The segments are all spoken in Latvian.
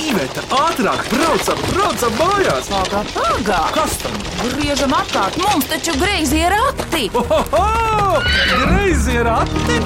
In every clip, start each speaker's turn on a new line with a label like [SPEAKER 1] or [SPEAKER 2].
[SPEAKER 1] Iveta, ātrāk, braucam, braucam mājās!
[SPEAKER 2] Pagā, pagā!
[SPEAKER 1] Kas tam?
[SPEAKER 2] Griežam apkārt, mums taču greizi ir akti!
[SPEAKER 1] Ohoho! Greizi ir ati!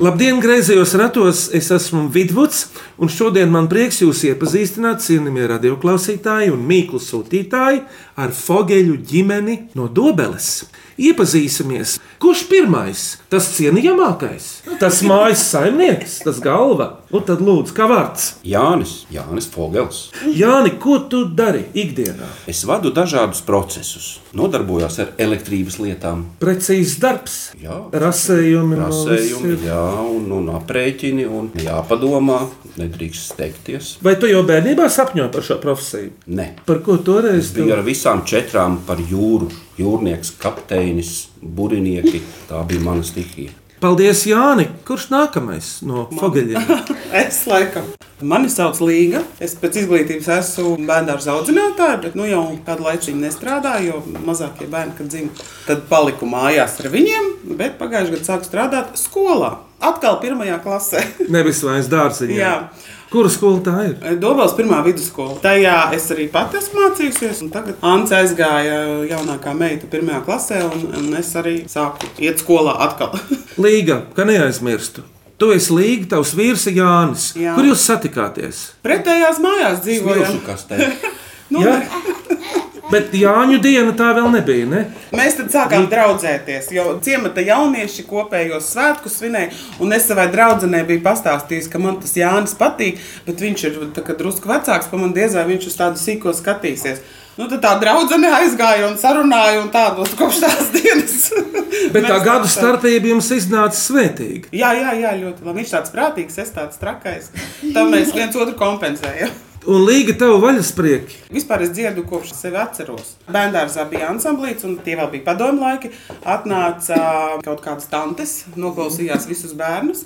[SPEAKER 3] Labdien, grazējos ratos! Es esmu Vidvuds, un šodien man prieks jūs iepazīstināt, cienījamie radioklausītāji un mīklu sūtītāji, ar Fogeļu ģimeni no Dobeles. Iepazīsimies, kurš pirmais, tas cienījamākais, tas mājas saimnieks, tas galva, un tad lūdzu, kā vārds.
[SPEAKER 4] Jānis, Jānis Fogels.
[SPEAKER 3] Jāni, ko tu dari ikdienā?
[SPEAKER 4] Es vadu dažādus procesus, nodarbojos ar elektrības lietām,
[SPEAKER 3] Precīzs darbs,
[SPEAKER 4] Jā.
[SPEAKER 3] rasējumi, no
[SPEAKER 4] prasējumi,
[SPEAKER 3] visiem.
[SPEAKER 4] jā, un, un aprēķini, un jāpadomā, nedrīkst steigties.
[SPEAKER 3] Vai tu jau bērnībā sapņoji par šo profesiju?
[SPEAKER 4] Nē.
[SPEAKER 3] Par ko toreiz tu
[SPEAKER 4] Bija ar visām četrām par jūru. Jūrnieks, kapteinis, burinieki. Tā bija mana stihija.
[SPEAKER 3] Paldies, Jāni! Kurš nākamais no Fogeļiem?
[SPEAKER 5] Es laikam. Mani sauc Līga. Es pēc izglītības esmu bērnu audzinātāja, bet nu jau kādu laiku nestrādāju, jo mazākie bērni, kad dzimta, tad paliku mājās ar viņiem. Bet pagājušajā gadā sāku strādāt skolā. Atkal pirmajā klasē.
[SPEAKER 3] Nevis vairs dārziņā.
[SPEAKER 5] Jā.
[SPEAKER 3] Kura skola tā ir?
[SPEAKER 5] Dobels pirmā vidusskola. Tajā es arī pati esmu mācījusies, un tagad Ants aizgāja jaunākā meita pirmajā klasē, un, un es arī sāku iet skolā atkal.
[SPEAKER 3] Līga, ka neaizmirstu. Tu esi Līga, tavs vīrs ir Jānis.
[SPEAKER 5] Jā.
[SPEAKER 3] Kur jūs satikāties?
[SPEAKER 5] Pretējās mājās dzīvojam.
[SPEAKER 4] Vilšu kastē.
[SPEAKER 5] Nu,
[SPEAKER 3] Jā. Bet Jāņu diena tā vēl nebija. Ne?
[SPEAKER 5] Mēs tad sākām
[SPEAKER 3] Mm.
[SPEAKER 5] draudzēties, jo ciemata jaunieši kopējos svētkus svinēja. un Es savai draudzenei biju pastāstījis, ka man tas Jānis patīk, bet viņš ir tā kā drusku vecāks par mani. Diez vai viņš uz tādu sīko skatīsies. Nu, tad tā draudzene aizgāja un sarunāja, un tā būs kopš tās dienas.
[SPEAKER 3] Bet tā
[SPEAKER 5] Mēs
[SPEAKER 3] gada
[SPEAKER 5] tā-
[SPEAKER 3] starpība jums iznāca svētīga.
[SPEAKER 5] Jā, jā, jā, ļoti labi. Viņš tāds prātīgs, es tāds trakais. Tad mēs viens otru kompensējam.
[SPEAKER 3] Un Līga, tev vaļasprieki.
[SPEAKER 5] Vispār es dzirdu, kopš sevi atceros. Bērngārzā bija ansamblīts, un tie vēl bija padomu laiki. Atnāca kaut kādas tantes, noklausījās visus bērnus.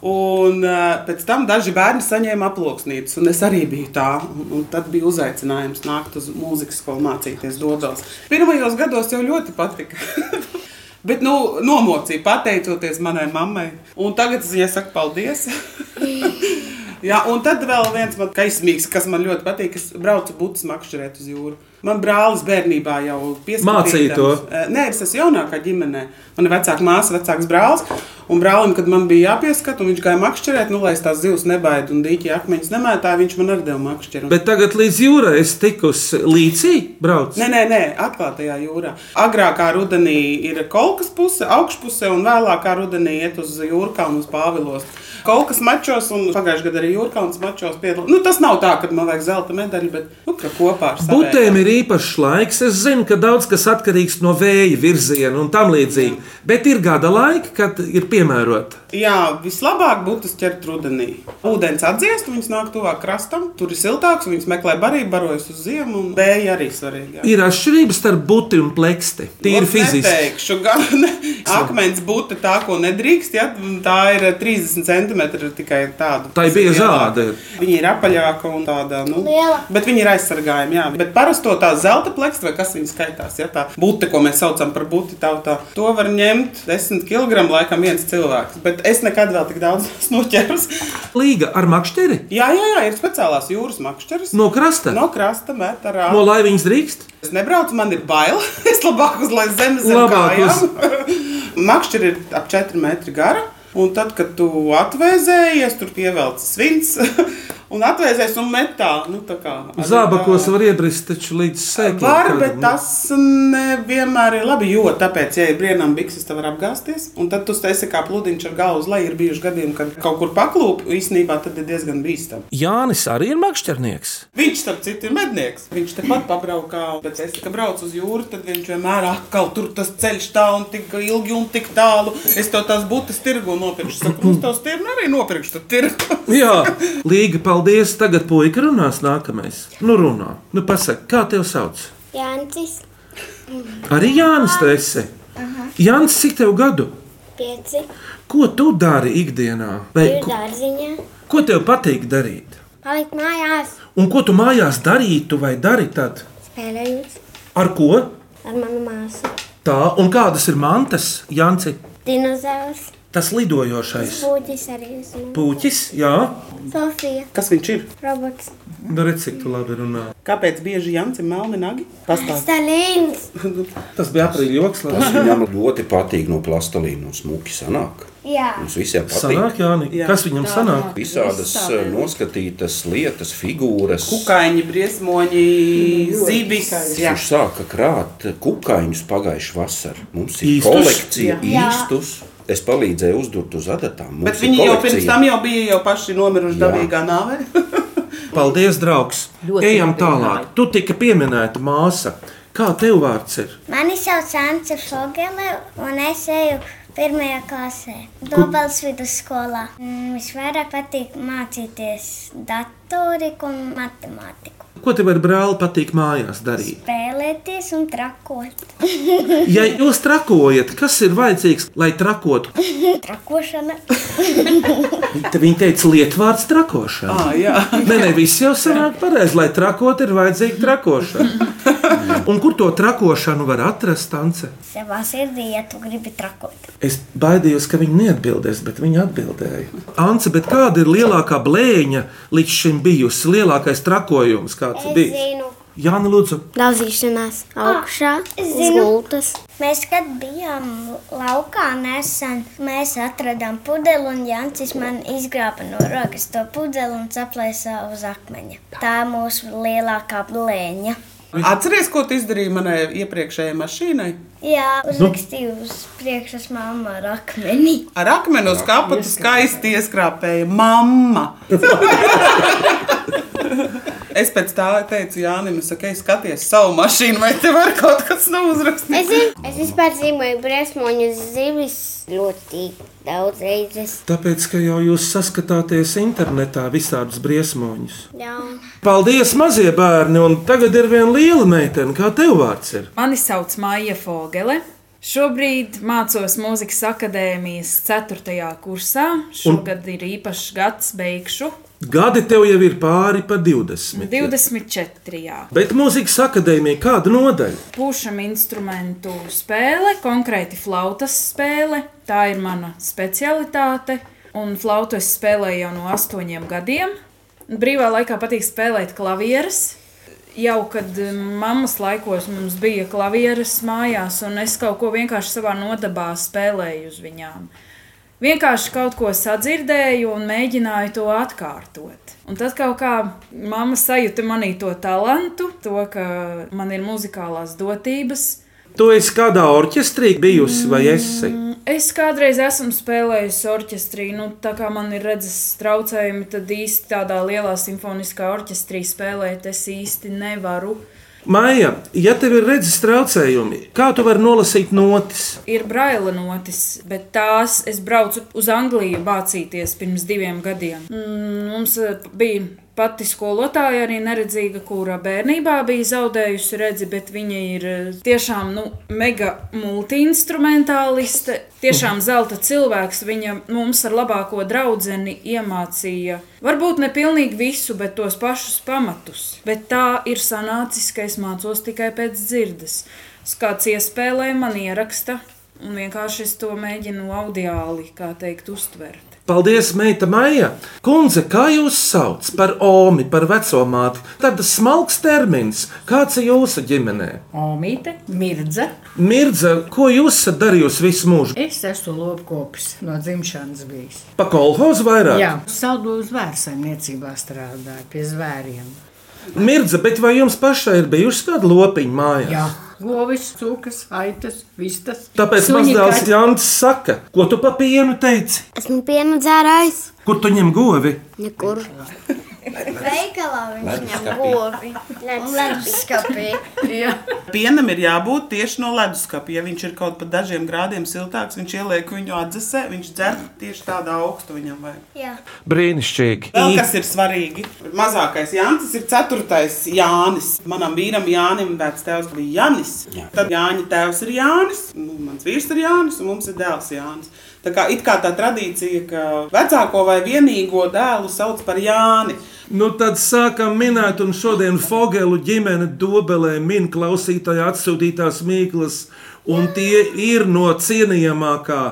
[SPEAKER 5] Un eh, pēc tam daži bērni saņēma aploksnītes, un es arī biju tā. Un- Un tad bija uzaicinājums nākt uz mūzikas skolu mācīties Dobelas. Pirmajos gados jau ļoti patika. Bet nu, nomocīja, pateicoties manai mammai. Un tagad es viņai saku paldies. Jā, un tad vēl viens man kaismīgs, kas man ļoti patīk, es braucu būtis makšķerēt uz jūru. Man brālis bērnībā jau pieskatīja.
[SPEAKER 3] Mācīja to?
[SPEAKER 5] Nē, es esmu jaunākā ģimenē. Man ir vecāka māsa, vecāks brālis. Un brālim, kad man bija jāpieskata, un viņš gāja makšķerēt, nu, lai es tās zivs nebaidu un dīķi akmeņus nemētāju, viņš man arī deva makšķerēt.
[SPEAKER 3] Bet tagad līdz jūrai es tiku uz līcī braucu.
[SPEAKER 5] Nē, nē, nē, atklātajā jūrā. Agrākā rudenī ir kolekcijas puse, augšpusē, un vēlākā rudenī iet uz jūrkalnu uz pāvilos. Kolekcijas mačos, un pagājušajā gadā arī jūrkalnas mačos piedalījās. Nu, tas nav tā, ka man vajag zelta medaļu, bet nu, ka kopā ar saviem.
[SPEAKER 3] Butēm ir īpašs laiks. Es zinu, ka daudz kas atkarīgs no vēja virziena un tam līdzīgi. Bet ir gada laika, kad ir piemērota.
[SPEAKER 5] Jā, vislabāk būtu ķert rudenī. Vodens atdziest, un viņas nāk tuvāk krastam, tur ir siltāks, un viņas meklē barību, barojas uz ziemu, un vēja arī svarīga.
[SPEAKER 3] Ir atšķirība starp buti un pleksti. Tīri
[SPEAKER 5] Ot,
[SPEAKER 3] fiziski.
[SPEAKER 5] Nu, Neteikšu, gan akmens būtu tā, ko nedrīkst. Ja? Tā ir 30 centimetri tikai tāda.
[SPEAKER 3] Tā ir bieža āda.
[SPEAKER 5] Viņa ir apaļāka un tāda nu,
[SPEAKER 6] Liela.
[SPEAKER 5] Bet viņa ir aizsargājama. Jā. Bet parasti to tā zelta plaksta, vai kas viņa skaitās, ja tā būtu, ko mēs saucam par būti tautā, to var ņemt 10 kg laikam viens cilvēks. Bet es nekad vēl tik daudz noķeros.
[SPEAKER 3] Līga ar makšķeri
[SPEAKER 5] Jā, jā, jā, ir speciālās jūras makšķeres.
[SPEAKER 3] no krasta.
[SPEAKER 5] No krasta met arā.
[SPEAKER 3] Nu, No laiviņas drīkst?
[SPEAKER 5] Es nebraucu, man ir bail. Es labāk uz lai zemes zem
[SPEAKER 3] Labāk uz-
[SPEAKER 5] kājām. Makšķi ir ap 4 metri gara. Un tad, kad tu atvēsējies, tur pievelc svins un atvēsējies un metā. Nu, tā kā, arī
[SPEAKER 3] Zābakos
[SPEAKER 5] tā.
[SPEAKER 3] var nu. iebrist taču līdz sēklai.
[SPEAKER 5] Var, bet tas nevienmēr ir labi. Jo tāpēc, ja ir brīvām bikses, tad var apgāzties. Un tad tu esi kā pludiņš ar galvu uz leju. Ir bijuši gadījumi, kad kaut kur paklūp. Īsnībā tad ir diezgan bīstami.
[SPEAKER 3] Jānis arī ir makšķernieks.
[SPEAKER 5] Viņš, starp citu, ir mednieks. Viņš tepat pabraukā, bet es, kad braucu uz jūru, tad viņš vienmēr atkal tur tas ceļš tā un tik ilgi un tik tālu. Es to tās būtas tirgu nopirkšu. Saku, es tos tirgu arī nopirkšu. tad Tirgu.
[SPEAKER 3] Jā, Līga, paldies. Tagad puika runās nākamais. Nu, runā. Nu, pasaka, kā tev sauc?
[SPEAKER 6] Jānis,
[SPEAKER 3] Arī Jānis tu esi. Jānis, cik tev gadu?
[SPEAKER 6] pieci,
[SPEAKER 3] Ko tu dari ikdienā? Vai,
[SPEAKER 6] divi
[SPEAKER 3] ko,
[SPEAKER 6] dārziņā.
[SPEAKER 3] ko tev patīk darīt?
[SPEAKER 6] Palikt mājās,
[SPEAKER 3] Un ko tu mājās darītu vai dari tad?
[SPEAKER 6] spēlējot
[SPEAKER 3] Ar ko?
[SPEAKER 6] ar manu māsu.
[SPEAKER 3] Tā, un kādas ir mantas, Jānis?
[SPEAKER 6] Dinozaurs,
[SPEAKER 3] Tas lidojošais
[SPEAKER 6] Būtis arī esmu.
[SPEAKER 3] puķis, jā,
[SPEAKER 6] Sofija,
[SPEAKER 5] Kas viņš ir?
[SPEAKER 6] robots.
[SPEAKER 3] nu redz, cik tu labi runā.
[SPEAKER 5] Kāpēc bieži jams ir melni nagi? Pastāstiet,
[SPEAKER 6] Stalins.
[SPEAKER 3] Tas bija aprīļa joks,
[SPEAKER 4] Tas
[SPEAKER 3] labi.
[SPEAKER 4] viņam ļoti patīk no plastelīna un smuki sanāk.
[SPEAKER 6] Jā.
[SPEAKER 4] Mums visiem patīk.
[SPEAKER 3] Sanāk, Jāni,
[SPEAKER 5] Jā.
[SPEAKER 3] kas viņam sanāk?
[SPEAKER 4] Visādas eh, noskatītas lietas, figūras.
[SPEAKER 5] kukaiņi, briesmoņi, Mm, zivis. Jā.
[SPEAKER 4] Viņš sāka krāt kukaiņus pagājušā vasarā. Mums ir
[SPEAKER 3] Īstus?
[SPEAKER 4] īstus? kolekcija
[SPEAKER 6] Jā.
[SPEAKER 4] īstus. Es palīdzēju uzdurt uz adatām. Mums
[SPEAKER 5] Bet
[SPEAKER 4] ir
[SPEAKER 5] viņi jau pirms
[SPEAKER 4] kolekcija.
[SPEAKER 5] tam jau bija jau paši nomiruši
[SPEAKER 4] Jā.
[SPEAKER 5] dabīgā nāvē.
[SPEAKER 3] Paldies, draugs!
[SPEAKER 2] Ļoti
[SPEAKER 3] Ejam
[SPEAKER 2] labi
[SPEAKER 3] tālāk. Tu tika pieminēta māsa. Kā tev vārds ir?
[SPEAKER 6] Mani sauc Anta Fogele, un es eju pirmajā klasē, Dobels vidusskolā. Mm, Visvairāk patīk mācīties datoriku un matemātiku.
[SPEAKER 3] Ko tev ar brāli patīk mājās darīt?
[SPEAKER 6] Spēlēties un trakot.
[SPEAKER 3] Ja jūs trakojat, kas ir vajadzīgs, lai trakotu?
[SPEAKER 6] Trakošana.
[SPEAKER 3] Tad viņi teica, lietvārds trakošana.
[SPEAKER 5] Ah, jā.
[SPEAKER 3] Nē, nē, viss jau sanāk pareizi. Lai trakot, ir vajadzīga trakošana. Un kur to trakošanu var atrast, Tance?
[SPEAKER 6] Savā sirdī, ja tu gribi trakot.
[SPEAKER 3] Es baidījos, ka viņi neatbildēs, bet viņi atbildēja. Anse, bet kāda ir lielākā blēņa līdz šim bijusi? Lielākais trakojums, kāds ir bijis? Jā, nu lūdzu,
[SPEAKER 7] Daudzīšanās augšā,
[SPEAKER 6] Ah, es
[SPEAKER 7] uz
[SPEAKER 6] zinu.
[SPEAKER 7] gultas.
[SPEAKER 6] Mēs, kad bijām laukā nesen, mēs atradām pudeli un Jānis man izgrāba no rokas to pudeli un saplēsā uz akmeņa. Tā ir mūsu lielākā blēņa.
[SPEAKER 5] Atceries, ko tu izdarīji manai iepriekšējai mašīnai?
[SPEAKER 6] Jā, uzrakstīju uz priekšas mammu ar akmeni.
[SPEAKER 5] Ar akmeni uz kapa tu skaisti ieskrāpēji. Mamma! Es pēc tā teicu Jānim, es saku, "Ej, skaties savu mašīnu, vai te var kaut kas nav uzrakstīts.
[SPEAKER 7] Es, zinu, es vispār zīmoju briesmoņu zivis ļoti daudz reizes.
[SPEAKER 3] tāpēc, ka jau jūs saskatāties internetā visādus briesmoņus.
[SPEAKER 7] Jā.
[SPEAKER 3] Paldies, mazie bērni, un tagad ir viena liela meitene, kā tev vārds ir.
[SPEAKER 8] Mani sauc Maija Fogele. Šobrīd mācos Mūzikas akadēmijas 4. kursā. Šogad ir īpašs gads, beigšu
[SPEAKER 3] Gadi tev jau ir pāri pa 20.
[SPEAKER 8] 24.
[SPEAKER 3] Bet mūzikas akadēmija kāda nodaļa?
[SPEAKER 8] Pūšam instrumentu spēle, konkrēti flautas spēle. Tā ir mana specialitāte. Un flautu es spēlēju jau no astoņiem gadiem. Brīvā laikā patīk spēlēt klavieres. Jau kad eh, mammas laikos mums bija klavieres mājās, un es kaut ko vienkārši savā nodabā spēlēju uz viņām. Vienkārši kaut ko sadzirdēju un mēģināju to atkārtot. Un tad kaut kā mamma sajūta manī to talantu, to, ka man ir muzikālās dotības.
[SPEAKER 3] Tu esi kādā orķestrī bijusi vai esi?
[SPEAKER 8] Es kādreiz esmu spēlējusi orķestrī, nu, tā kā man ir redzes traucējumi, tad īsti tādā lielā simfoniskā orķestrī spēlēt es īsti nevaru.
[SPEAKER 3] Maija, ja tev ir redzes traucējumi, kā tu vari nolasīt notis?
[SPEAKER 8] Ir braila notis, bet tās es braucu uz Angliju mācīties pirms diviem gadiem. Mm, Mums eh, bija pati skolotāja, arī neredzīga, kura bērnībā bija zaudējusi redzi, bet viņa ir eh, tiešām nu, mega multiinstrumentāliste. Tiešām zelta cilvēks. Viņa mums ar labāko draudzeni iemācīja varbūt ne pilnīgi visu, bet tos pašus pamatus. Bet tā ir sanācis, ka es mācos tikai pēc dzirdes kāds iespēlē, man ieraksta. Un vienkārši es to mēģinu audiāli, kā teikt, uztvert.
[SPEAKER 3] Paldies, meita Maija! Kundze, kā jūs sauc par Omi, par veco māti? Tad smalks termins, kāds ir jūsu ģimenē?
[SPEAKER 9] Omīte, mirdze.
[SPEAKER 3] Mirdza, ko jūs esat darījusi visu mūžu?
[SPEAKER 9] Es esmu lopkopis no dzimšanas bijis.
[SPEAKER 3] Pa kolhozu vairāk?
[SPEAKER 9] Jā, saldu uz vērsaimniecībā strādāju pie zvēriem.
[SPEAKER 3] Mirdza, bet vai jums pašai ir bijusi kāda lopiņa mājās?
[SPEAKER 9] Jā, lovis, cūkas, aitas, vistas.
[SPEAKER 3] Tāpēc
[SPEAKER 9] Suņi,
[SPEAKER 3] mazdēls
[SPEAKER 9] kaķi.
[SPEAKER 3] Jānis saka, ko tu pa pienu teici?
[SPEAKER 7] Esmu piena dzērājs.
[SPEAKER 3] Kur tu ņem govi?
[SPEAKER 7] Nekur.
[SPEAKER 6] Veikalā viņš ņem govi. Leduskapī.
[SPEAKER 5] Pienam ir jābūt tieši no leduskapa. Ja viņš ir kaut par dažiem grādiem siltāks, viņš ieliek viņu atdzesē, viņš dzer tieši tādu augstu viņam vajag.
[SPEAKER 6] Jā.
[SPEAKER 3] Brīnišķīgi.
[SPEAKER 5] Vēl kas ir svarīgi? Mazākais Jānis ir 4. Jānis. Manam vīram Jānim vecais tēvs bija Jānis. Jā. Tad Jāņa tēvs ir Jānis, nu, mans vīrs ir Jānis un mums ir dēls Jānis. Tā kā, it kā tā tradīcija, ka vecāko vai vienīgo dēlu sauc par Jāni.
[SPEAKER 3] Nu, tad sākam minēt, un šodien Fogelu ģimene dobelē min klausītāja atsūtītās mīklas, un tie ir no cienījamākā.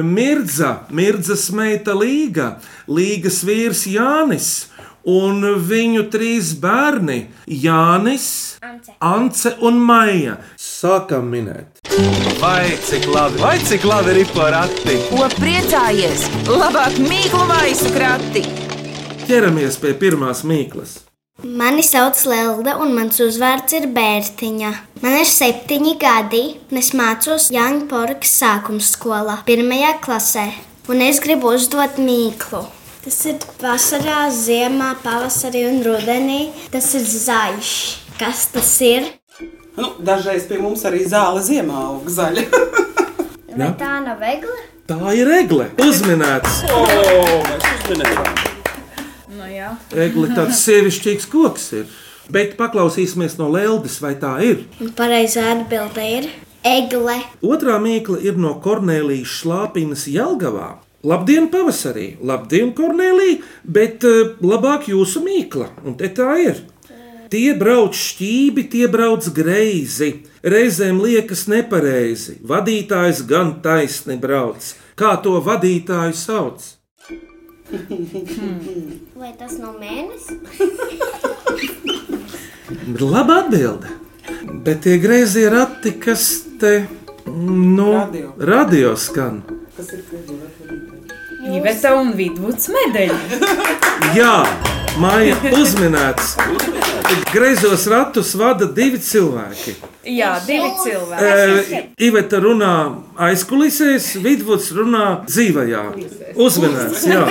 [SPEAKER 3] Mirza, Mirza meita Līga, Līgas vīrs Jānis un viņu trīs bērni - Jānis,
[SPEAKER 6] Ance.
[SPEAKER 3] Ance un Maija. Sākam minēt.
[SPEAKER 1] Vai cik labi, vai cik labi ir porakti?
[SPEAKER 2] Ko priecājies? Labāk mīklu maisu krati.
[SPEAKER 3] Ķeramies pie pirmās mīklas.
[SPEAKER 6] Mani sauc Lelda, un mans uzvārds ir Bērtiņa. Man ir septiņi gadi, un es mācos Jāņporkas sākuma skolā, pirmajā klasē. Un es gribu uzdot mīklu. Tas ir vasarā, ziemā, pavasarī un rudenī. Tas ir zaļš. Kas tas ir?
[SPEAKER 5] Nu, dažreiz pie mums arī zāle ziemā aug zaļa.
[SPEAKER 6] Vai tā nav viegli?
[SPEAKER 3] Tā ir regle. Uzminēts,
[SPEAKER 8] Nu, jā.
[SPEAKER 3] regle tāds sievišķīgs koks ir. Bet paklausīsimies no Leldes, vai tā ir.
[SPEAKER 6] Un pareizā atbilde ir egle.
[SPEAKER 3] Otra mīkla ir no Kornelijas šlāpinas Jelgavā. Labdien, pavasarī! Labdien, Kornelija! Bet eh, labāk jūsu mīkla, un te tā ir. Tie brauc šķīvi, tie brauc greizi. Reizēm liekas nepareizi. Vadītājs gan taisni brauc. Kā to vadītāju sauc?
[SPEAKER 7] Vai tas no mēnesis?
[SPEAKER 3] Labā atbilde. Bet tie greizie rati, kas te no
[SPEAKER 5] Radio.
[SPEAKER 3] radio skan.
[SPEAKER 8] Iveta un Vidvuds medaļa.
[SPEAKER 3] Jā, māja uzminēts. Greizos ratus vada divi cilvēki.
[SPEAKER 8] Jā, divi cilvēki.
[SPEAKER 3] E, Iveta runā aizkulisēs, Vidvuds runā dzīvajā. Uzminēts, jā.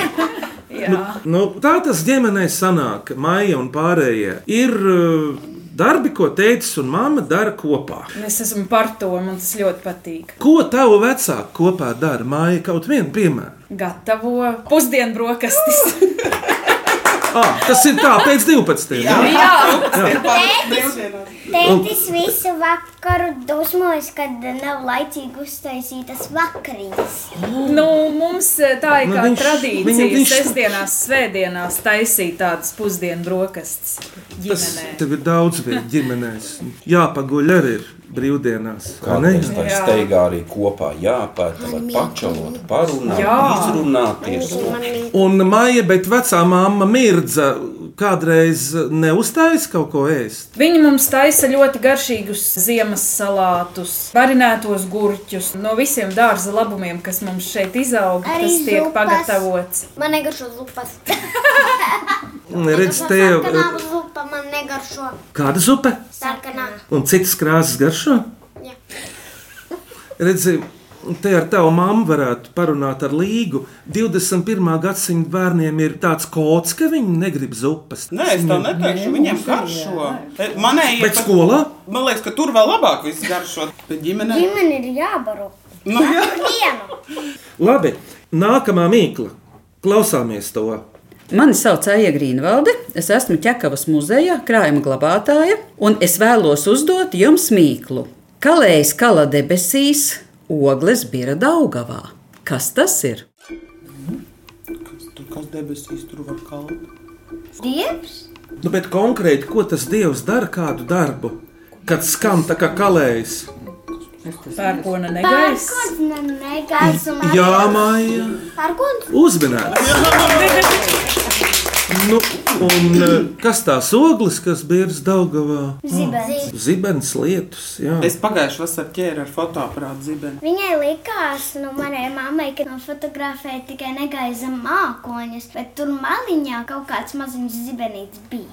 [SPEAKER 3] Nu, nu, tā tas ģimenē sanāk, māja un pārējie. Ir eh, darbi, ko tētis un mamma dara kopā.
[SPEAKER 8] Es esmu par to, man tas ļoti patīk.
[SPEAKER 3] Ko tavu vecāku kopā dara māja kaut vienu piemēru?
[SPEAKER 8] Gatavo pusdienu brokastis.
[SPEAKER 3] Ah, tas ir tā, pēc 12. Jā,
[SPEAKER 6] Tētis visu vakaru dusmojas, kad nav laicīgi uztaisītas vakariņas.
[SPEAKER 8] nu, mums eh, tā ir
[SPEAKER 3] Nu,
[SPEAKER 8] kā
[SPEAKER 3] viņš-
[SPEAKER 8] tradīcija.
[SPEAKER 3] viņam viņš-
[SPEAKER 8] Viņš... Sestdienās, svētdienās taisīt tādas pusdienu brokastis
[SPEAKER 3] Tas
[SPEAKER 8] ģimenē.
[SPEAKER 3] tev ir daudz vietas ģimenēs. Jā, paguļ arī ir brīvdienās. vai ne?
[SPEAKER 4] Kādreiz tā
[SPEAKER 8] Jā.
[SPEAKER 4] steigā arī kopā jāpēta, lai pačalot, parunāt,
[SPEAKER 8] Jā.
[SPEAKER 4] izrunāties.
[SPEAKER 3] Un māja, bet vecā māma mirdza kādreiz neuzstājas kaut ko ēst.
[SPEAKER 8] Viņi mums taisa ļoti garšīgus ziemas salātus, marinētos gurķus, no visiem dārza labumiem, kas mums šeit izaug,
[SPEAKER 7] Arī
[SPEAKER 8] kas tiek
[SPEAKER 7] zupas.
[SPEAKER 8] pagatavots.
[SPEAKER 7] Man negaršo zupas.
[SPEAKER 3] Redz, tev
[SPEAKER 7] Sarkanā
[SPEAKER 8] eh,
[SPEAKER 7] zupa man negaršo.
[SPEAKER 3] kāda zupa
[SPEAKER 7] Sarkanā.
[SPEAKER 3] un citas krāsas garšo?
[SPEAKER 7] Jā.
[SPEAKER 3] Redzi, te ar tavu mammu varētu parunāt ar līgu. 21. gadsimta bērniem ir tāds kods, ka viņi negrib zupas.
[SPEAKER 5] Nē, es tā neteikšu. Viņam garšo. E, Manēji,
[SPEAKER 3] Bet skolā?
[SPEAKER 5] Man liekas, ka tur vēl labāk viss garšo. Bet ģimenē.
[SPEAKER 6] Ģimene ir jābaro.
[SPEAKER 5] Nu, jā.
[SPEAKER 6] Dienu.
[SPEAKER 3] Labi, nākamā mīkla. Klausāmies to.
[SPEAKER 10] Mani sauc Aija Grīnvalde, es esmu Čekavas muzeja krājuma glabātāja, un es vēlos uzdot jums mīklu. Kalējs kala debesīs, ogles bija Daugavā. Kas tas ir?
[SPEAKER 5] Kas Tur kas debesīs, tur var kalpt.
[SPEAKER 6] Dievs?
[SPEAKER 3] Nu, bet konkrēti, ko tas dievs dara, kādu darbu, kad skan tā kā kalējs?
[SPEAKER 8] Pērkona negaiss.
[SPEAKER 6] Pērkona negaisuma.
[SPEAKER 3] Jā, māja,
[SPEAKER 6] Pērkons.
[SPEAKER 3] uzmanīgs. Nu, un eh, kas tās ogles, kas bija Daugavā?
[SPEAKER 6] Zibens.
[SPEAKER 3] Zibens lietus, jā.
[SPEAKER 5] Es pagājušā vasarā ķēru ar fotoaparātu zibeni.
[SPEAKER 6] Viņai likās, nu, manai mammai, ka fotografē tikai negaisa mākoņus, bet tur maliņā kaut kāds maziņš zibenīts bija.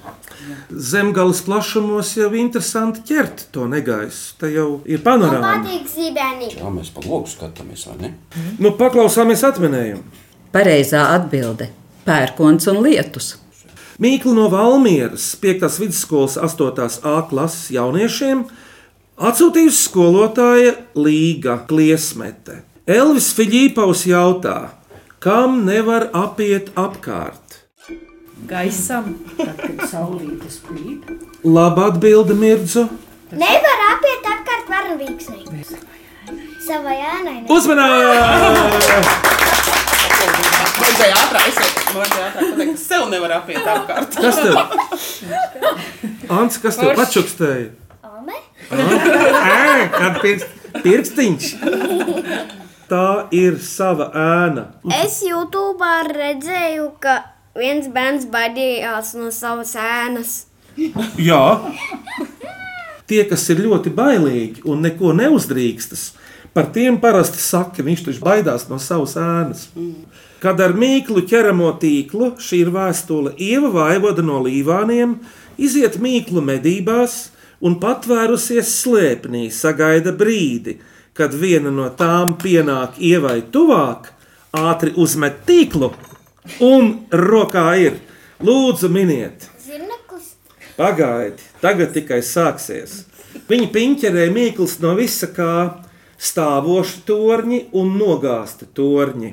[SPEAKER 3] Zemgāles plašumos jau interesanti ķert to negaisu. Tā jau ir
[SPEAKER 6] Nu,
[SPEAKER 3] panorāma.
[SPEAKER 7] Patīk zibeni.
[SPEAKER 4] Jā, mēs pa logu skatāmies, vai ne?
[SPEAKER 3] Nu, paklausāmies atminējumu.
[SPEAKER 10] Pareizā atbilde - pērkons un lietus.
[SPEAKER 3] Mīkla no Valmieras, 5. vidusskolas 8. A klases jauniešiem, atsūtījusi skolotāja Līga Kliesmete. Elvis Filipaus jautā, kam nevar apiet apkārt?
[SPEAKER 8] Gaisam.
[SPEAKER 9] Saulītas plīt.
[SPEAKER 3] Labi atbildi Mirdzu.
[SPEAKER 6] Nevar apiet apkārt varavīksnei. Savai ēnai. ne?
[SPEAKER 3] Uzmanīgi!
[SPEAKER 5] Vajadzēja ātrāk, es vajadzēja ātrāk pateikt, ka sev nevar apiet apkārt.
[SPEAKER 3] Kas tev? Ants, kas tev pačukstēja?
[SPEAKER 6] Ome?
[SPEAKER 3] Ē, Kad pirkst, pirkstiņš. Tā ir sava ēna.
[SPEAKER 8] Mm.
[SPEAKER 7] Es YouTube redzēju, ka viens bērns baidījās no savas ēnas.
[SPEAKER 3] Jā. Tie, kas ir ļoti bailīgi un neko neuzdrīkstas, par tiem parasti saka, ka viņš taču baidās no savas ēnas. Kad ar mīklu ķeramo tīklu, šī ir vēstule Ieva Vaivoda no Līvāniem, iziet mīklu medībās un patvērusies slēpnī, sagaida brīdi, kad viena no tām pienāk ievai tuvāk, ātri uzmet tīklu un rokā ir lūdzu miniet.
[SPEAKER 6] Zirneklis.
[SPEAKER 3] Pagaidi, tagad tikai sāksies. Viņa piņķerē mīklas no visa kā stāvoši torņi un nogāzti torņi.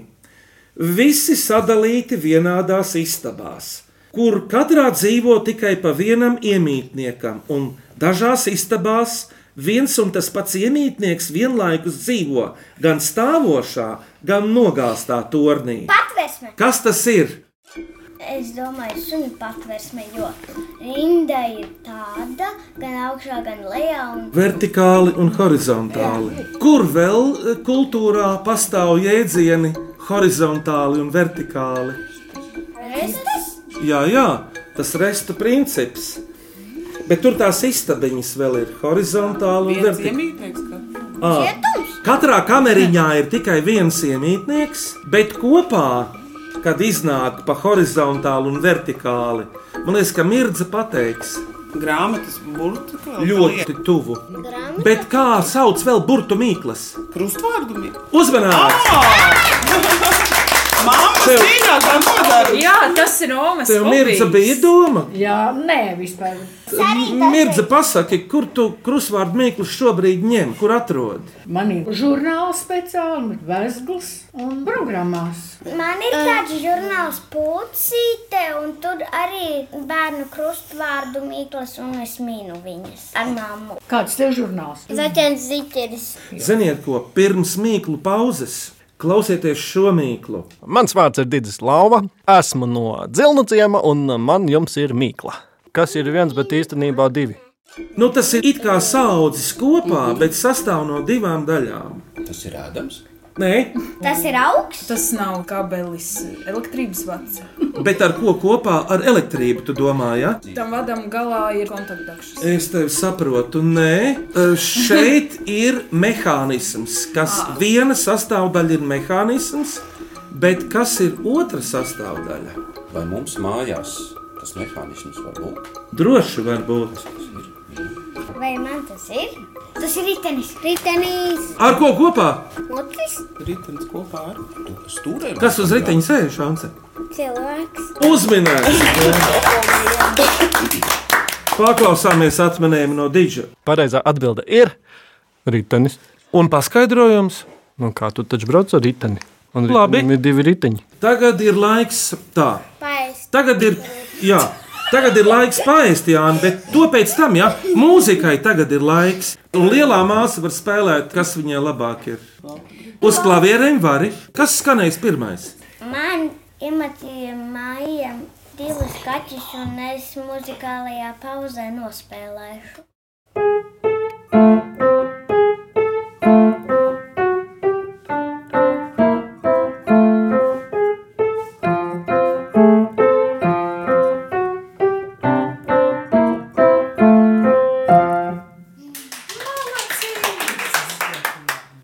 [SPEAKER 3] Visi sadalīti vienādās istabās, kur katrā dzīvo tikai pa vienam iemītniekam, un dažās istabās viens un tas pats iemītnieks vienlaikus dzīvo gan stāvošā, gan nogāztā tornī.
[SPEAKER 6] Patversme.
[SPEAKER 3] Kas tas ir?
[SPEAKER 6] Es domāju, sunu patversme, jo rinda ir tāda, gan augšā, gan lejā. Un...
[SPEAKER 3] vertikāli un horizontāli. Kur vēl eh, kultūrā pastāv jēdzieni horizontāli un vertikāli?
[SPEAKER 6] Restes?
[SPEAKER 3] Jā, jā, tas restu princips. Bet tur tās istabiņas vēl ir horizontāli un
[SPEAKER 5] Viens
[SPEAKER 3] vertikāli.
[SPEAKER 5] iemītnieks, ka
[SPEAKER 3] Ā. Katrā kameriņā ir tikai viens iemītnieks, bet kopā, kad iznāk pa horizontāli un vertikāli, man liekas, ka mirdza pateiks
[SPEAKER 5] grāmatas burtu. ka-
[SPEAKER 3] ļoti tuvu. Bet kā sauc vēl burtu mīklas?
[SPEAKER 5] Krustvārdu mīklu.
[SPEAKER 3] Uzmanīgi!
[SPEAKER 5] Māmas
[SPEAKER 3] Tev-
[SPEAKER 5] mīļākā nodarbe.
[SPEAKER 8] Jā, tas ir Romas.
[SPEAKER 3] Tev mirdza bija doma.
[SPEAKER 9] Jā, nē, vispār.
[SPEAKER 3] Mirdza, pasaki, kur tu krusvārdu mīklu šobrīd ņem, kur atrod?
[SPEAKER 9] Man ir žurnāls speciāli, vēstures un programmās.
[SPEAKER 6] Man ir tāds žurnāls pūcīte, un tur arī ir bērnu krustvārdu mīklas, un es mīlu viņas ar mammu.
[SPEAKER 9] Kāds tev žurnāls?
[SPEAKER 7] Zaķens ziķeris.
[SPEAKER 3] Ziniet, ko pirms mīklu pauzes klausieties šo mīklu.
[SPEAKER 11] Mans vārds ir Digis Lapa. Esmu no Dzilnu ciema un man jums ir mīkla. Kas ir viens, bet īstenībā divi.
[SPEAKER 3] Nu, tas ir it kā saudzis kopā, bet sastāv no divām daļām.
[SPEAKER 4] Tas ir ēdams.
[SPEAKER 3] Nē,
[SPEAKER 6] Tas ir augsts.
[SPEAKER 8] Tas nav kabelis, elektrības vats.
[SPEAKER 3] bet ar ko kopā ar elektrību tu domā? Ja?
[SPEAKER 8] Tam vadam galā ir kontaktdakšas.
[SPEAKER 3] Es tevi saprotu, nē, Eh, šeit ir mehānisms, kas viena sastāvdaļa ir mehānisms, bet kas ir otra sastāvdaļa?
[SPEAKER 4] Vai mums mājās tas mehānisms var būt?
[SPEAKER 3] Droši var būt.
[SPEAKER 6] Vai man tas ir? Tas ir ritenis.
[SPEAKER 7] Ritenīs.
[SPEAKER 3] Ar ko kopā?
[SPEAKER 7] Otrs
[SPEAKER 5] Ritenis kopā ar.
[SPEAKER 4] Tu Stūrē,
[SPEAKER 3] Kas uz riteņa sēž? Ance?
[SPEAKER 7] cilvēks.
[SPEAKER 3] Uzminēts! Paklausāmies atminējumu no Digita.
[SPEAKER 11] Pareizā atbilde ir ritenis.
[SPEAKER 3] Un paskaidrojums.
[SPEAKER 11] Nu, kā tu taču brauc ar riteni? Un
[SPEAKER 3] Labi.
[SPEAKER 11] ritenim ir divi riteņi.
[SPEAKER 3] Tagad ir laiks tā.
[SPEAKER 7] Paist.
[SPEAKER 3] Tagad ir, jā, tagad ir laiks pāriest, Jānis, bet to pēc tam, ja mūzikai tagad ir laiks. Un lielā māsa var spēlēt, kas viņai labāk ir. Uz klavierēm vari. Kas skanēs pirmais?
[SPEAKER 6] Man iematīja māja divus kaķus, un es muzikālajā pauzē nospēlēšu.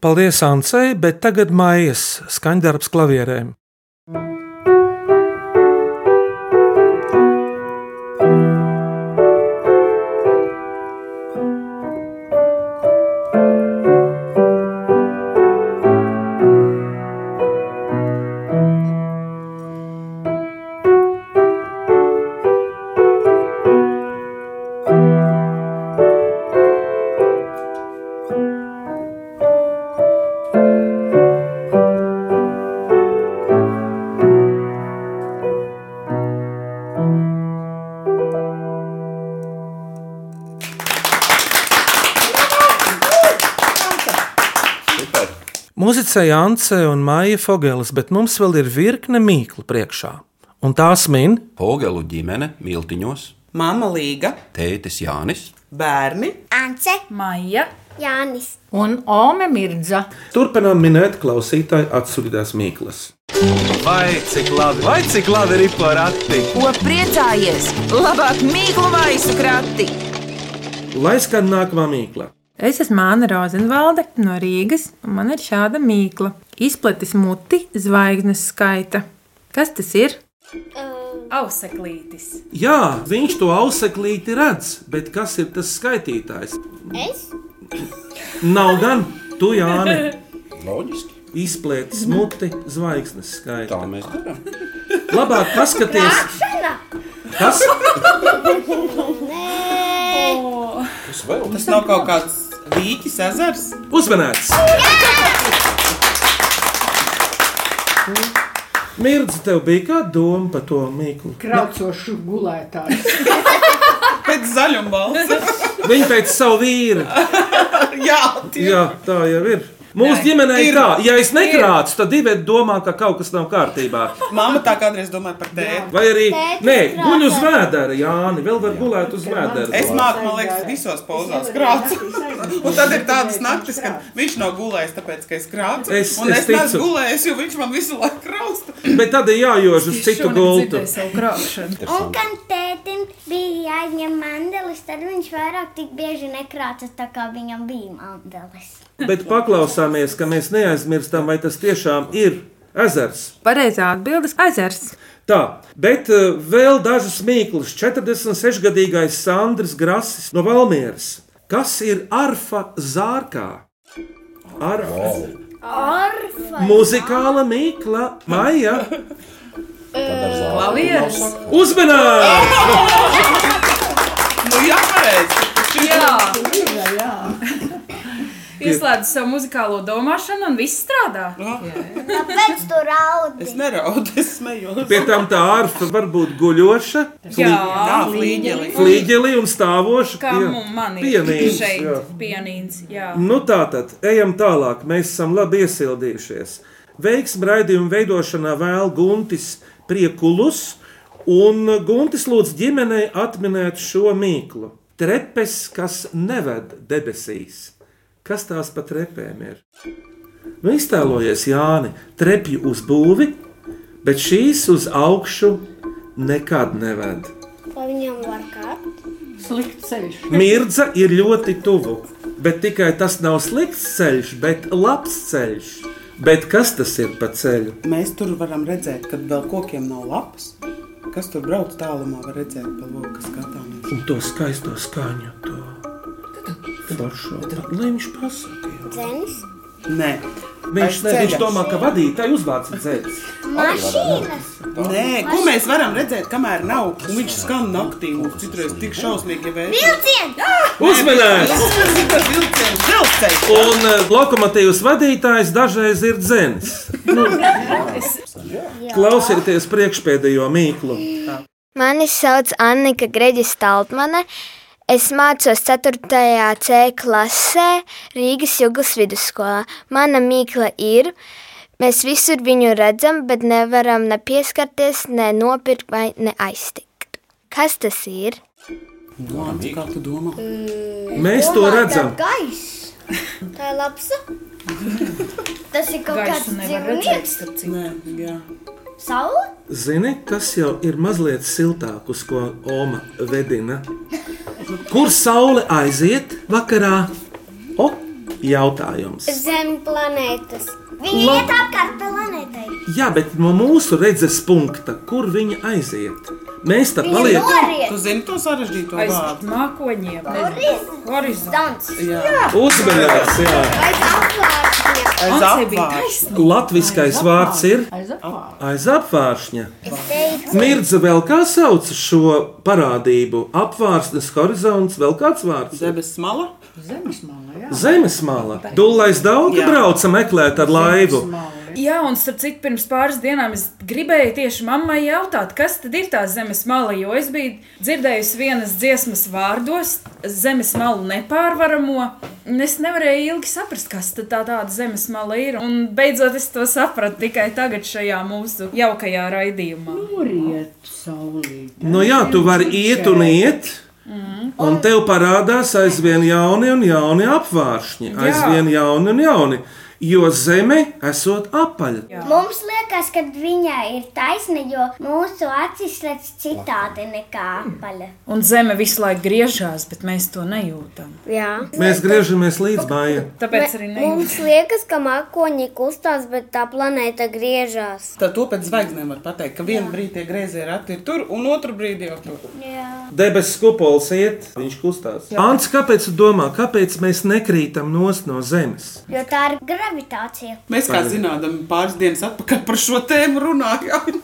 [SPEAKER 3] Paldies, Ancei, bet tagad mājas skaņdarbs klavierēm.
[SPEAKER 6] Vai
[SPEAKER 3] Mūzicēja Ance un Maija Fogelis, bet mums vēl ir virkne mīklu priekšā. Un tās min
[SPEAKER 4] Pogelu ģimene miltiņos,
[SPEAKER 5] Māma Līga,
[SPEAKER 4] tētis Jānis.
[SPEAKER 5] bērni.
[SPEAKER 7] Ance,
[SPEAKER 9] Maija
[SPEAKER 7] Jānis,
[SPEAKER 9] un Ome Mirdza.
[SPEAKER 3] Turpinām minēt klausītāju atsūtītās mīklas.
[SPEAKER 1] Vai cik labi, vai cik labi ir porati?
[SPEAKER 2] Ko priecājies? Labāk mīklu maisu krati!
[SPEAKER 3] Lai skan nākamā mīkla.
[SPEAKER 12] Es esmu Māna Rozenvalde no Rīgas, un man ir šāda mīkla. Izplatis muti zvaigznes skaita. Kas tas ir?
[SPEAKER 8] Auseklītis.
[SPEAKER 3] Jā, viņš to auseklīti redz, bet kas ir tas skaitītājs?
[SPEAKER 7] es,
[SPEAKER 3] Nav gan tu, Jāni,
[SPEAKER 4] Loģiski.
[SPEAKER 3] izplētis muti zvaigznes skaitā. Tā
[SPEAKER 4] mēs darām.
[SPEAKER 3] Labāk paskaties,
[SPEAKER 7] Šana!
[SPEAKER 3] kas
[SPEAKER 4] Tas vēl
[SPEAKER 5] Tas nav kaut kāds dīķis, ezers.
[SPEAKER 3] uzmanēts. Mirdz, tev bija kāda doma par to mīklu?
[SPEAKER 9] Kraucošu gulētāju.
[SPEAKER 5] Pēc zaļuma balss.
[SPEAKER 3] Viņa pēc savu vīru.
[SPEAKER 5] Jā,
[SPEAKER 3] Jā, tā jau ir. Mūsu ģimenē ir tā, ja es nekrācu, tad divi domā, ka kaut kas nav kārtībā.
[SPEAKER 5] Māma tā kādreiz domāja par tēti.
[SPEAKER 3] Vai arī
[SPEAKER 5] Tētis
[SPEAKER 3] nē,
[SPEAKER 5] krācē.
[SPEAKER 3] guļ uz vēdera, Jāni, vēl var gulēt uz vēdera.
[SPEAKER 5] Es māku, man liekas, visos pozās krācu. Un tad ir tādas naktis, kad viņš nav gulējis, tāpēc, ka es krācu.
[SPEAKER 3] Es-
[SPEAKER 5] un
[SPEAKER 3] es
[SPEAKER 5] es neesmu
[SPEAKER 3] ticu.
[SPEAKER 5] gulējis, jo viņš man visu laiku krausta.
[SPEAKER 3] Bet tad ir jājož uz citu gultu.
[SPEAKER 6] Un kad tētim bija jāņem mandelis, tad viņš vairāk tik bieži nekrāca tā kā viņam bija mandelis.
[SPEAKER 3] Bet paklausāmies, ka mēs neaizmirstam, vai tas tiešām ir ezers.
[SPEAKER 12] Pareizā atbildes - ezers.
[SPEAKER 3] Tā, bet eh, vēl dažas mīklas. 46-gadīgais Sandrs Grasis no Valmieras. Kas ir arfa zārkā? Arfa.
[SPEAKER 6] Orfa!
[SPEAKER 3] Mūzikāla mīkla, maija.
[SPEAKER 8] Klavieris.
[SPEAKER 3] Uzmanīgi!
[SPEAKER 5] Nu, jā, pareizi.
[SPEAKER 8] Jā,
[SPEAKER 9] Jā,
[SPEAKER 8] ieslēdz savu muzikālo domāšanu un viss strādā.
[SPEAKER 6] Kāpēc tu raudi?
[SPEAKER 5] Es neraudu, es smējos.
[SPEAKER 3] Pie tam tā arfa var būt guļoša,
[SPEAKER 8] Jā,
[SPEAKER 5] flīģeli.
[SPEAKER 3] flīģeli un stāvoša.
[SPEAKER 8] Kā
[SPEAKER 3] pie-
[SPEAKER 8] mums man ir
[SPEAKER 3] pianīns, jā.
[SPEAKER 8] šeit pianīns. Jā.
[SPEAKER 3] Nu, tā tad, ejam tālāk. Mēs esam labi iesildījušies. Veiksmu raidījumu veidošanā vēl Guntis Priekulus. Un Guntis lūdz ģimenei atminēt šo mīklu. Trepes, kas neved debesīs. Kas tās pa trepēm ir? Nu, iztēlojies, Jāni, trepju uz būvi, bet šīs uz augšu nekad neved.
[SPEAKER 7] vai viņam var kārt?
[SPEAKER 9] slikts ceļš.
[SPEAKER 3] Mirdza ir ļoti tuvu. Bet tikai tas nav slikts ceļš, bet labs ceļš. Bet kas tas ir pa ceļu?
[SPEAKER 5] Mēs tur varam redzēt, kad vēl kokiem nav lapas. Kas tur brauc tālumā, var redzēt, pa loku skatāmies.
[SPEAKER 3] Un to skaisto skaņu, to foršo. Lai viņš pasaka, jau.
[SPEAKER 7] Zenis,
[SPEAKER 5] Nē,
[SPEAKER 3] viņš, ne,
[SPEAKER 5] Aiz
[SPEAKER 3] viņš
[SPEAKER 5] ceļa.
[SPEAKER 3] domā, ka vadītāji uzvāca dzērs.
[SPEAKER 6] Mašīnas!
[SPEAKER 5] Nē, ko mēs varam redzēt, kamēr nav? Un Viņš skan naktī, un citreiz tik šausmīgi vēsti.
[SPEAKER 6] Vilciens!
[SPEAKER 3] Uzmanīgs!
[SPEAKER 5] Vilciens!
[SPEAKER 3] Un eh, lokomotīvas vadītājs dažreiz ir dzēns. Nu, klausieties priekšpēdējo mīklu.
[SPEAKER 13] Mani sauc Annika Greģis Taltmane. Es mācos 4. C klasē Rīgas Juglas vidusskolā. Mana mīkla ir, mēs visur viņu redzam, bet nevaram ne pieskarties, ne nopirkt vai ne aiztikt. Kas tas ir?
[SPEAKER 5] Lāns, kā tu domā?
[SPEAKER 3] Mēs to redzam.
[SPEAKER 6] Gaiss! Tā ir labsa! Tas ir kaut kāds
[SPEAKER 8] Gaisu nevar redzēt,
[SPEAKER 6] dzīvnieks!
[SPEAKER 8] starp citu.
[SPEAKER 5] Nē, jā.
[SPEAKER 6] Saula!
[SPEAKER 3] Zini, tas jau ir mazliet siltāk, uz ko Oma vedina. Kur saule aiziet vakarā? O, jautājums.
[SPEAKER 7] zem planētas.
[SPEAKER 6] Viņi
[SPEAKER 3] Labi.
[SPEAKER 6] iet apkārt planētai!
[SPEAKER 3] Jā, bet no mūsu redzes punkta, kur viņa aiziet? Mēs tā
[SPEAKER 6] Viņi
[SPEAKER 3] paliekam
[SPEAKER 6] noriet!
[SPEAKER 5] Tu zini to sarežģīto
[SPEAKER 8] Aiz
[SPEAKER 5] vārdu?
[SPEAKER 8] mākoņiem. Horizonts.
[SPEAKER 6] Dons!
[SPEAKER 5] Jā,
[SPEAKER 3] uzmanīgs.
[SPEAKER 6] Aiz apkārtņa!
[SPEAKER 5] aiz apgājēju.
[SPEAKER 3] Latviskais vārds ir
[SPEAKER 9] Aizapā.
[SPEAKER 3] aiz apvāršņa.
[SPEAKER 6] Es teicu,
[SPEAKER 3] Mirdza vēl kā sauc šo parādību? Apvārsnes horizonts, vēl kāds vārds?
[SPEAKER 5] Debes smala.
[SPEAKER 9] Zemes malā.
[SPEAKER 3] Zemesmāla. Dūlais daudz
[SPEAKER 5] Jā.
[SPEAKER 3] brauca meklēt ar laivu.
[SPEAKER 9] Zemesmala.
[SPEAKER 8] Jā, un starp citu, pirms pāris dienām es gribēju tieši mammai jautāt, kas tad ir tā zemes mala, jo es biju dzirdējusi vienas dziesmas vārdos, zemes malu nepārvaramo. un Es nevarēju ilgi saprast, kas tad tā tāda zemes mala ir. Un beidzot es to sapratu tikai tagad, šajā mūsu jaukajā raidījumā.
[SPEAKER 9] Noriet, saulīt.
[SPEAKER 3] Nu, jā, tu vari iet un iet. Un tev parādās aizvien jauni un jauni apvāršņi,
[SPEAKER 6] Jā.
[SPEAKER 3] aizvien jauni un jauni. Jo zeme esot apaļa.
[SPEAKER 6] Mums liekas, ka viņai ir taisna, jo mūsu acis redz citādi nekā apaļa.
[SPEAKER 8] Un zeme visu laiku griežās, bet mēs to nejūtam.
[SPEAKER 7] Jā.
[SPEAKER 3] Mēs griežamies līdz mājai.
[SPEAKER 8] Tāpēc arī nejūtam.
[SPEAKER 7] Mums liekas, ka mākoņi kustās, bet tā planēta griežās.
[SPEAKER 5] Tad to pēc zvaigznēm var pateikt, ka vienu brīdi tie griezie rati ir tur, un otru brīdi jau tur.
[SPEAKER 3] Debesu kupols iet, viņš kustās.
[SPEAKER 5] Jā.
[SPEAKER 3] Ants, kāpēc tu domā, kāpēc mēs nekrītam nost no zemes?
[SPEAKER 6] Jo tā ir gravitācija.
[SPEAKER 5] Mēs, kā zinām, pāris dienas atpakaļ par šo tēmu runājām.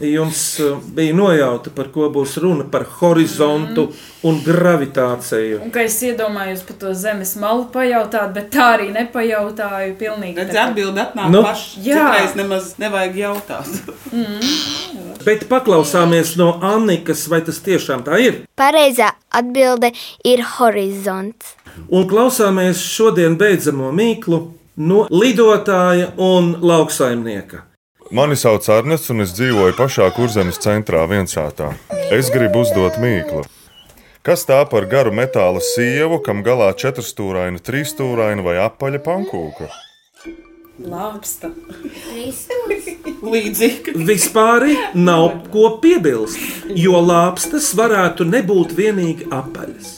[SPEAKER 3] Jums uh, bija nojauta, par ko būs runa, par horizontu mm. un gravitāciju.
[SPEAKER 8] Un ka es iedomājos par to zemes malu pajautāt, bet tā arī nepajautāju. Pilnīgi
[SPEAKER 5] Redzi, atbildi atnāk
[SPEAKER 3] Nu.
[SPEAKER 5] nu, paši.
[SPEAKER 8] Jā.
[SPEAKER 5] Citreiz nemaz nevajag jautāt.
[SPEAKER 3] Bet paklausāmies no Annikas, vai tas tiešām tā ir.
[SPEAKER 13] Pareizā atbilde ir horizonts.
[SPEAKER 3] Un klausāmies šodien beidzamo mīklu no lidotāja un lauksaimnieka.
[SPEAKER 14] Mani sauc Arnests, un es dzīvoju pašā kurzemes centrā, viensātā. Es gribu uzdot mīklu. Kas tā par garu metāla sievu, kam galā četrstūraina, trīsstūraina vai apaļa pankūka?
[SPEAKER 8] Lāpsta.
[SPEAKER 5] Līdzīgi.
[SPEAKER 3] Vispār nav ko piebilst, jo lāpstas varētu nebūt vienīgi apaļas.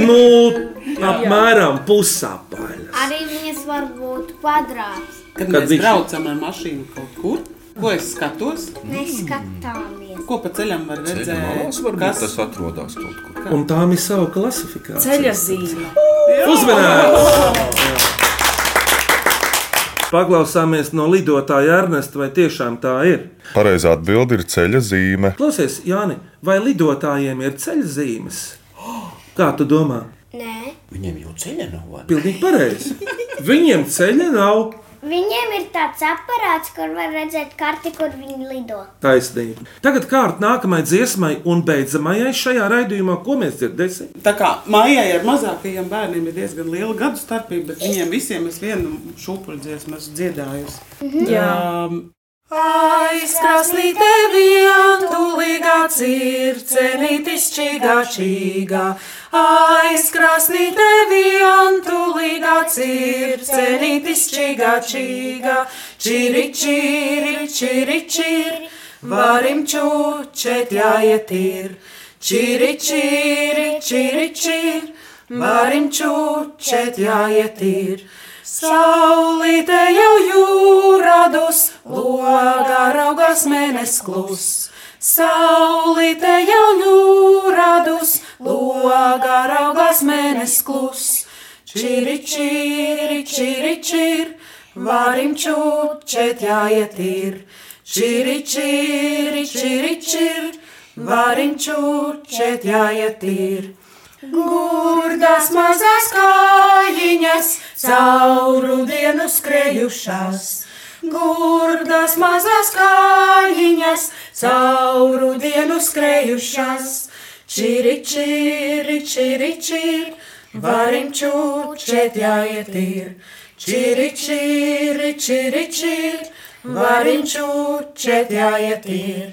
[SPEAKER 3] nu, apmēram pusapaļa.
[SPEAKER 7] Arī viņas var būt kvadrāts.
[SPEAKER 5] Kad,
[SPEAKER 3] Kad
[SPEAKER 5] Kad mēs
[SPEAKER 3] viņš-
[SPEAKER 5] braucam ar mašīnu kaut kur, ko es skatos,
[SPEAKER 7] Neskatāmies.
[SPEAKER 5] ko pa ceļam var
[SPEAKER 4] Ceļa malās
[SPEAKER 5] redzēt.
[SPEAKER 4] varbūt tas atrodas kaut kur.
[SPEAKER 3] Un tām ir sava klasifikācija.
[SPEAKER 8] Ceļa zīme.
[SPEAKER 3] Uzmanības! Paklausāmies no lidotāja Ernesta, vai tiešām tā ir.
[SPEAKER 14] Pareizā atbilde ir ceļa zīme.
[SPEAKER 3] Klausies, Jāni, vai lidotājiem ir ceļzīmes? Kā tu domā?
[SPEAKER 6] Nē.
[SPEAKER 4] Viņiem jau ceļa nav. vai?
[SPEAKER 3] Pilnīgi pareizi. Viņiem ceļa nav
[SPEAKER 6] Viņiem ir tāds aparāts, kur var redzēt karti, kur viņi lido.
[SPEAKER 3] taisnība. Tagad kārt nākamajai dziesmai un beidzamajai šajā raidījumā, ko mēs dzirdēsim.
[SPEAKER 5] Tā kā mājā ar mazākajiem bērniem ir diezgan liela gadu starpība, bet viņiem visiem es vienu šūpuļdziesmu esmu dziedājusi.
[SPEAKER 8] Mhm. Jā.
[SPEAKER 5] Um,
[SPEAKER 12] Aizkraslīte vientulīgā circenītis čīgā čīgā. Aizkraslīte vientulīgā circenītis čīgā čīgā. Čiri, čiri, čiri, čiri, varim čūčet jāiet ir. Čiri, čiri, čiri, čiri, varim čūčet jāiet ir. Saulīte jau jūradus, logā raugās mēnesis klus. Saulīte jau jūradus, logā raugās mēnesis klus. Čiri, čiri, čiri, čiri, varim čūčēt jāiet ir. Čiri, čiri, čiri, čiri, varim čūčēt jāiet ir. Gurdas mazas kājiņas, cauru dienu skrejušās. Gurdas mazas kājiņas, cauru dienu skrejušās. Čiri, čiri, čiri, čiri, varim čūčēt jāiet ir. Čiri, čiri, čiri, čiri, varim čūčēt jāiet ir.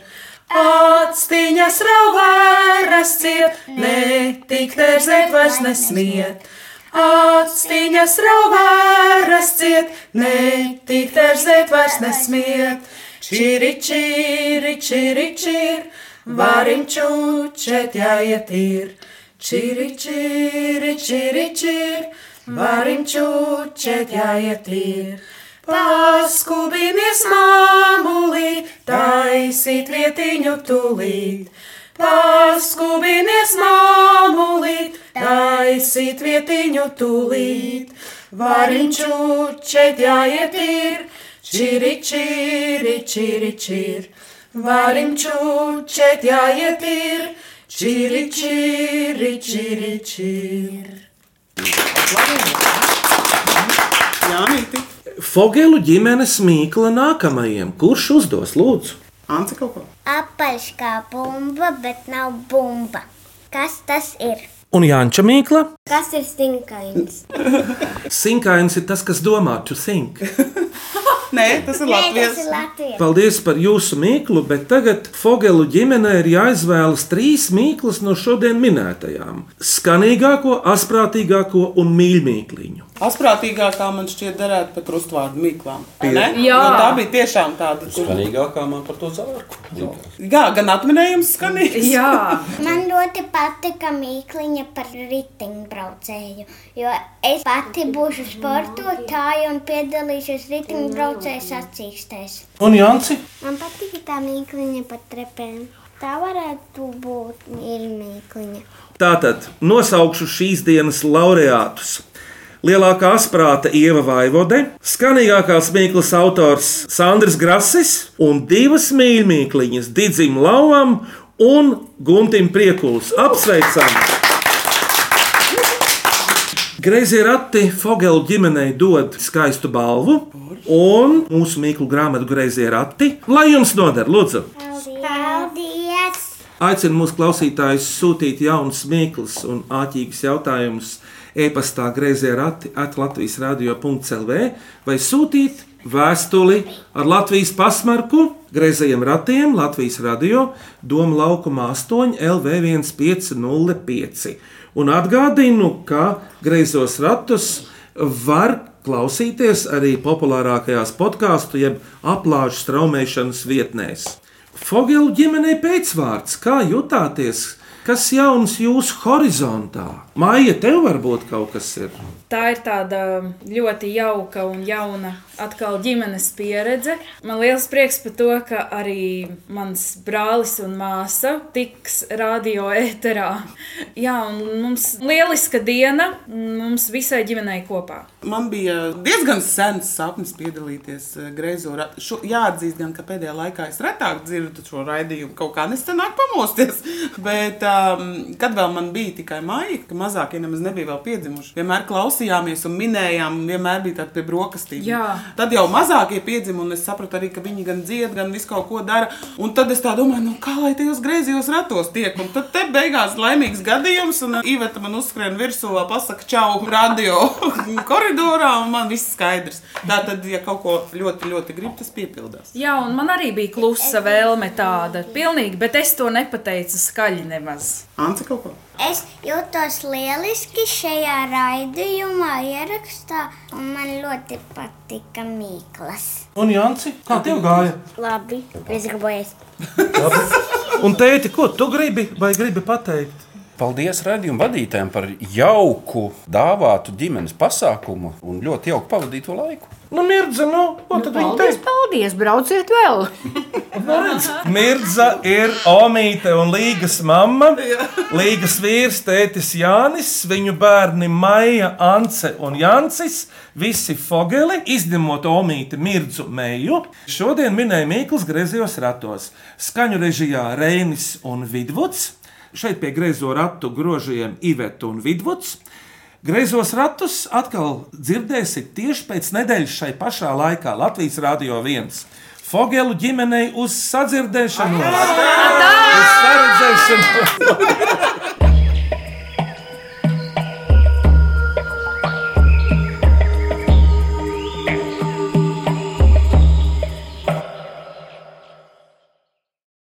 [SPEAKER 12] Atstiņas rauvēras ciet, netik terzēt vairs nesmiet. Atstiņas rauvēras ciet, netik terzēt vairs nesmiet. Čiri, čiri, čiri, čiri, varim čūčēt jāiet ir. Čiri, čiri, čiri, čiri, varim čūčēt jāiet ir. Paskubinies mamulī, taisīt vietiņu tulīt. Paskubinies mamulī, taisīt vietiņu tulīt. Variņču šeit jāiet ir, čiri, čiri, čiri, čiri. Variņču šeit jāiet ir, čiri, čiri, čiri, čiri.
[SPEAKER 5] Jānīti.
[SPEAKER 3] Fogelu ģimenes mīkla nākamajam. Kurš uzdos, lūdzu?
[SPEAKER 5] Anci kaut ko.
[SPEAKER 6] Apaļš kā bumba, bet nav bumba. Kas tas ir?
[SPEAKER 3] Un Jāņķa mīkla?
[SPEAKER 7] Kas ir stinkains?
[SPEAKER 3] Sinkains ir tas, kas domā, tu sink.
[SPEAKER 5] Nē, tas ir Latvijas.
[SPEAKER 3] Paldies par jūsu mīklu, bet tagad Fogelu ģimenē ir jāizvēlas trīs mīklas no šodien minētajām - skanīgāko, asprātīgāko un mīļākliņu.
[SPEAKER 5] Asprātīgākā man šķiet derētu par krustvārdu mīklām. vai ne?
[SPEAKER 3] Pie- Jā.
[SPEAKER 5] Nu, tā bija tiešām tāda. kur-
[SPEAKER 4] Skanīgākā man par to zārku.
[SPEAKER 5] Jā, gan atminējums skanīgs.
[SPEAKER 6] Man ļoti patika mīkliņa par riteņbraucēju, jo es pati būšu sportotāja un piedalīšos riteņbraucēju sacīkstēs.
[SPEAKER 3] Un Jānis?
[SPEAKER 6] Man patīk tā mīkliņa par trepēm. Tā varētu būt mīkliņa.
[SPEAKER 3] Tātad nosaukšu šīs dienas laureātus. Lielākā asprāta Ieva Vaivode, skanīgākās mīklas autors Sandrs Grasis un divas mīļmīkliņas Digim Lauam un Guntim Priekulis. Apsveicam! Greizie rati Fogelu ģimenei dod skaistu balvu un mūsu mīklu grāmatu Greizie rati, lai jums noder, lūdzu!
[SPEAKER 6] Paldies!
[SPEAKER 3] Aicinu mūsu klausītājus sūtīt jaunus, mīklus un āķīgus jautājumus e-pastā grazē rati atlatvijas radio.clv vai sūtīt vēstuli ar Latvijas pasmarku grazējiem ratiem Latvijas radio Doma laukuma 8 LV1505. Un atgādinu, ka greizos ratus var klausīties arī populārākajās podkāstu jeb aplāšu straumēšanas vietnēs. Fogelu ģimenei pēcvārds, kā jutāties? Kas jauns jūsu horizontā? Māja, tev varbūt kaut kas ir.
[SPEAKER 8] Tā ir tāda ļoti jauka un jauna atkal ģimenes pieredze. Man liels prieks par to, ka arī mans brālis un māsa tiks radio ēterā. Jā, un mums lieliska diena mums visai ģimenei kopā.
[SPEAKER 5] Man bija diezgan sens sapnis piedalīties eh, Greizo ratu. Šo- Jāatzīst, gan, ka pēdējā laikā es retāk dzirdu šo raidījumu, kaut kā nesenāk pamosties. Bet, um, kad vēl man bija tikai māja, ka mazākie nemaz nebija vēl piedzimuši, vienmēr klausījāmies un minējām, vienmēr bija tāda pie brokastīm.
[SPEAKER 8] Jā.
[SPEAKER 5] Tad jau mazākie piedzima, un es sapratu arī, ka viņi gan dzied, gan visu kaut ko dara. Un tad es tā domāju, nu kā lai tajos griezījos ratos tiek. Un tad te beigās laimīgs gadījums, un Iveta man uzskrien virsū, vēl pasaka, čau, radio koridorā, un man viss skaidrs. Tā tad, ja kaut ko ļoti, ļoti grib, tas piepildās.
[SPEAKER 8] Jā, un man arī bija klusa vēlme tāda. Pilnīgi, bet es to nepateicu skaļi nemaz.
[SPEAKER 5] Anci kaut ko?
[SPEAKER 6] Es jūtos lieliski šajā raidījumā, ierakstā, un man ļoti patika mīklas.
[SPEAKER 3] Un Jānis, kā tev gāja?
[SPEAKER 6] Labi, es gribēju
[SPEAKER 3] Un tēti, ko tu gribi vai gribi pateikt?
[SPEAKER 4] Paldies redzējumu vadītājiem par jauku dāvātu ģimenes pasākumu un ļoti jauku pavadīto laiku.
[SPEAKER 3] Nu, mirdzi, nu, ko tad viņi
[SPEAKER 9] Paldies, paldies, brauciet vēl!
[SPEAKER 3] Mirza ir Omīte un Līgas mamma. Līgas vīrs, tētis Jānis, viņu bērni Maija, Ance un Jancis, visi fogeli, izņemot Omīti Mirzu Meiju. Šodien minēja Mīkls griezījos ratos. Skaņu režijā Reinis un Vidvuds. Šeit pie griezo ratu grožiem Iveta un Vidvuds. Greizos ratus atkal dzirdēsiet tieši pēc nedēļas šai pašā laikā Latvijas Rādio 1. Fogelu ģimenei uz sadzirdēšanos! Uz saredzēšanos!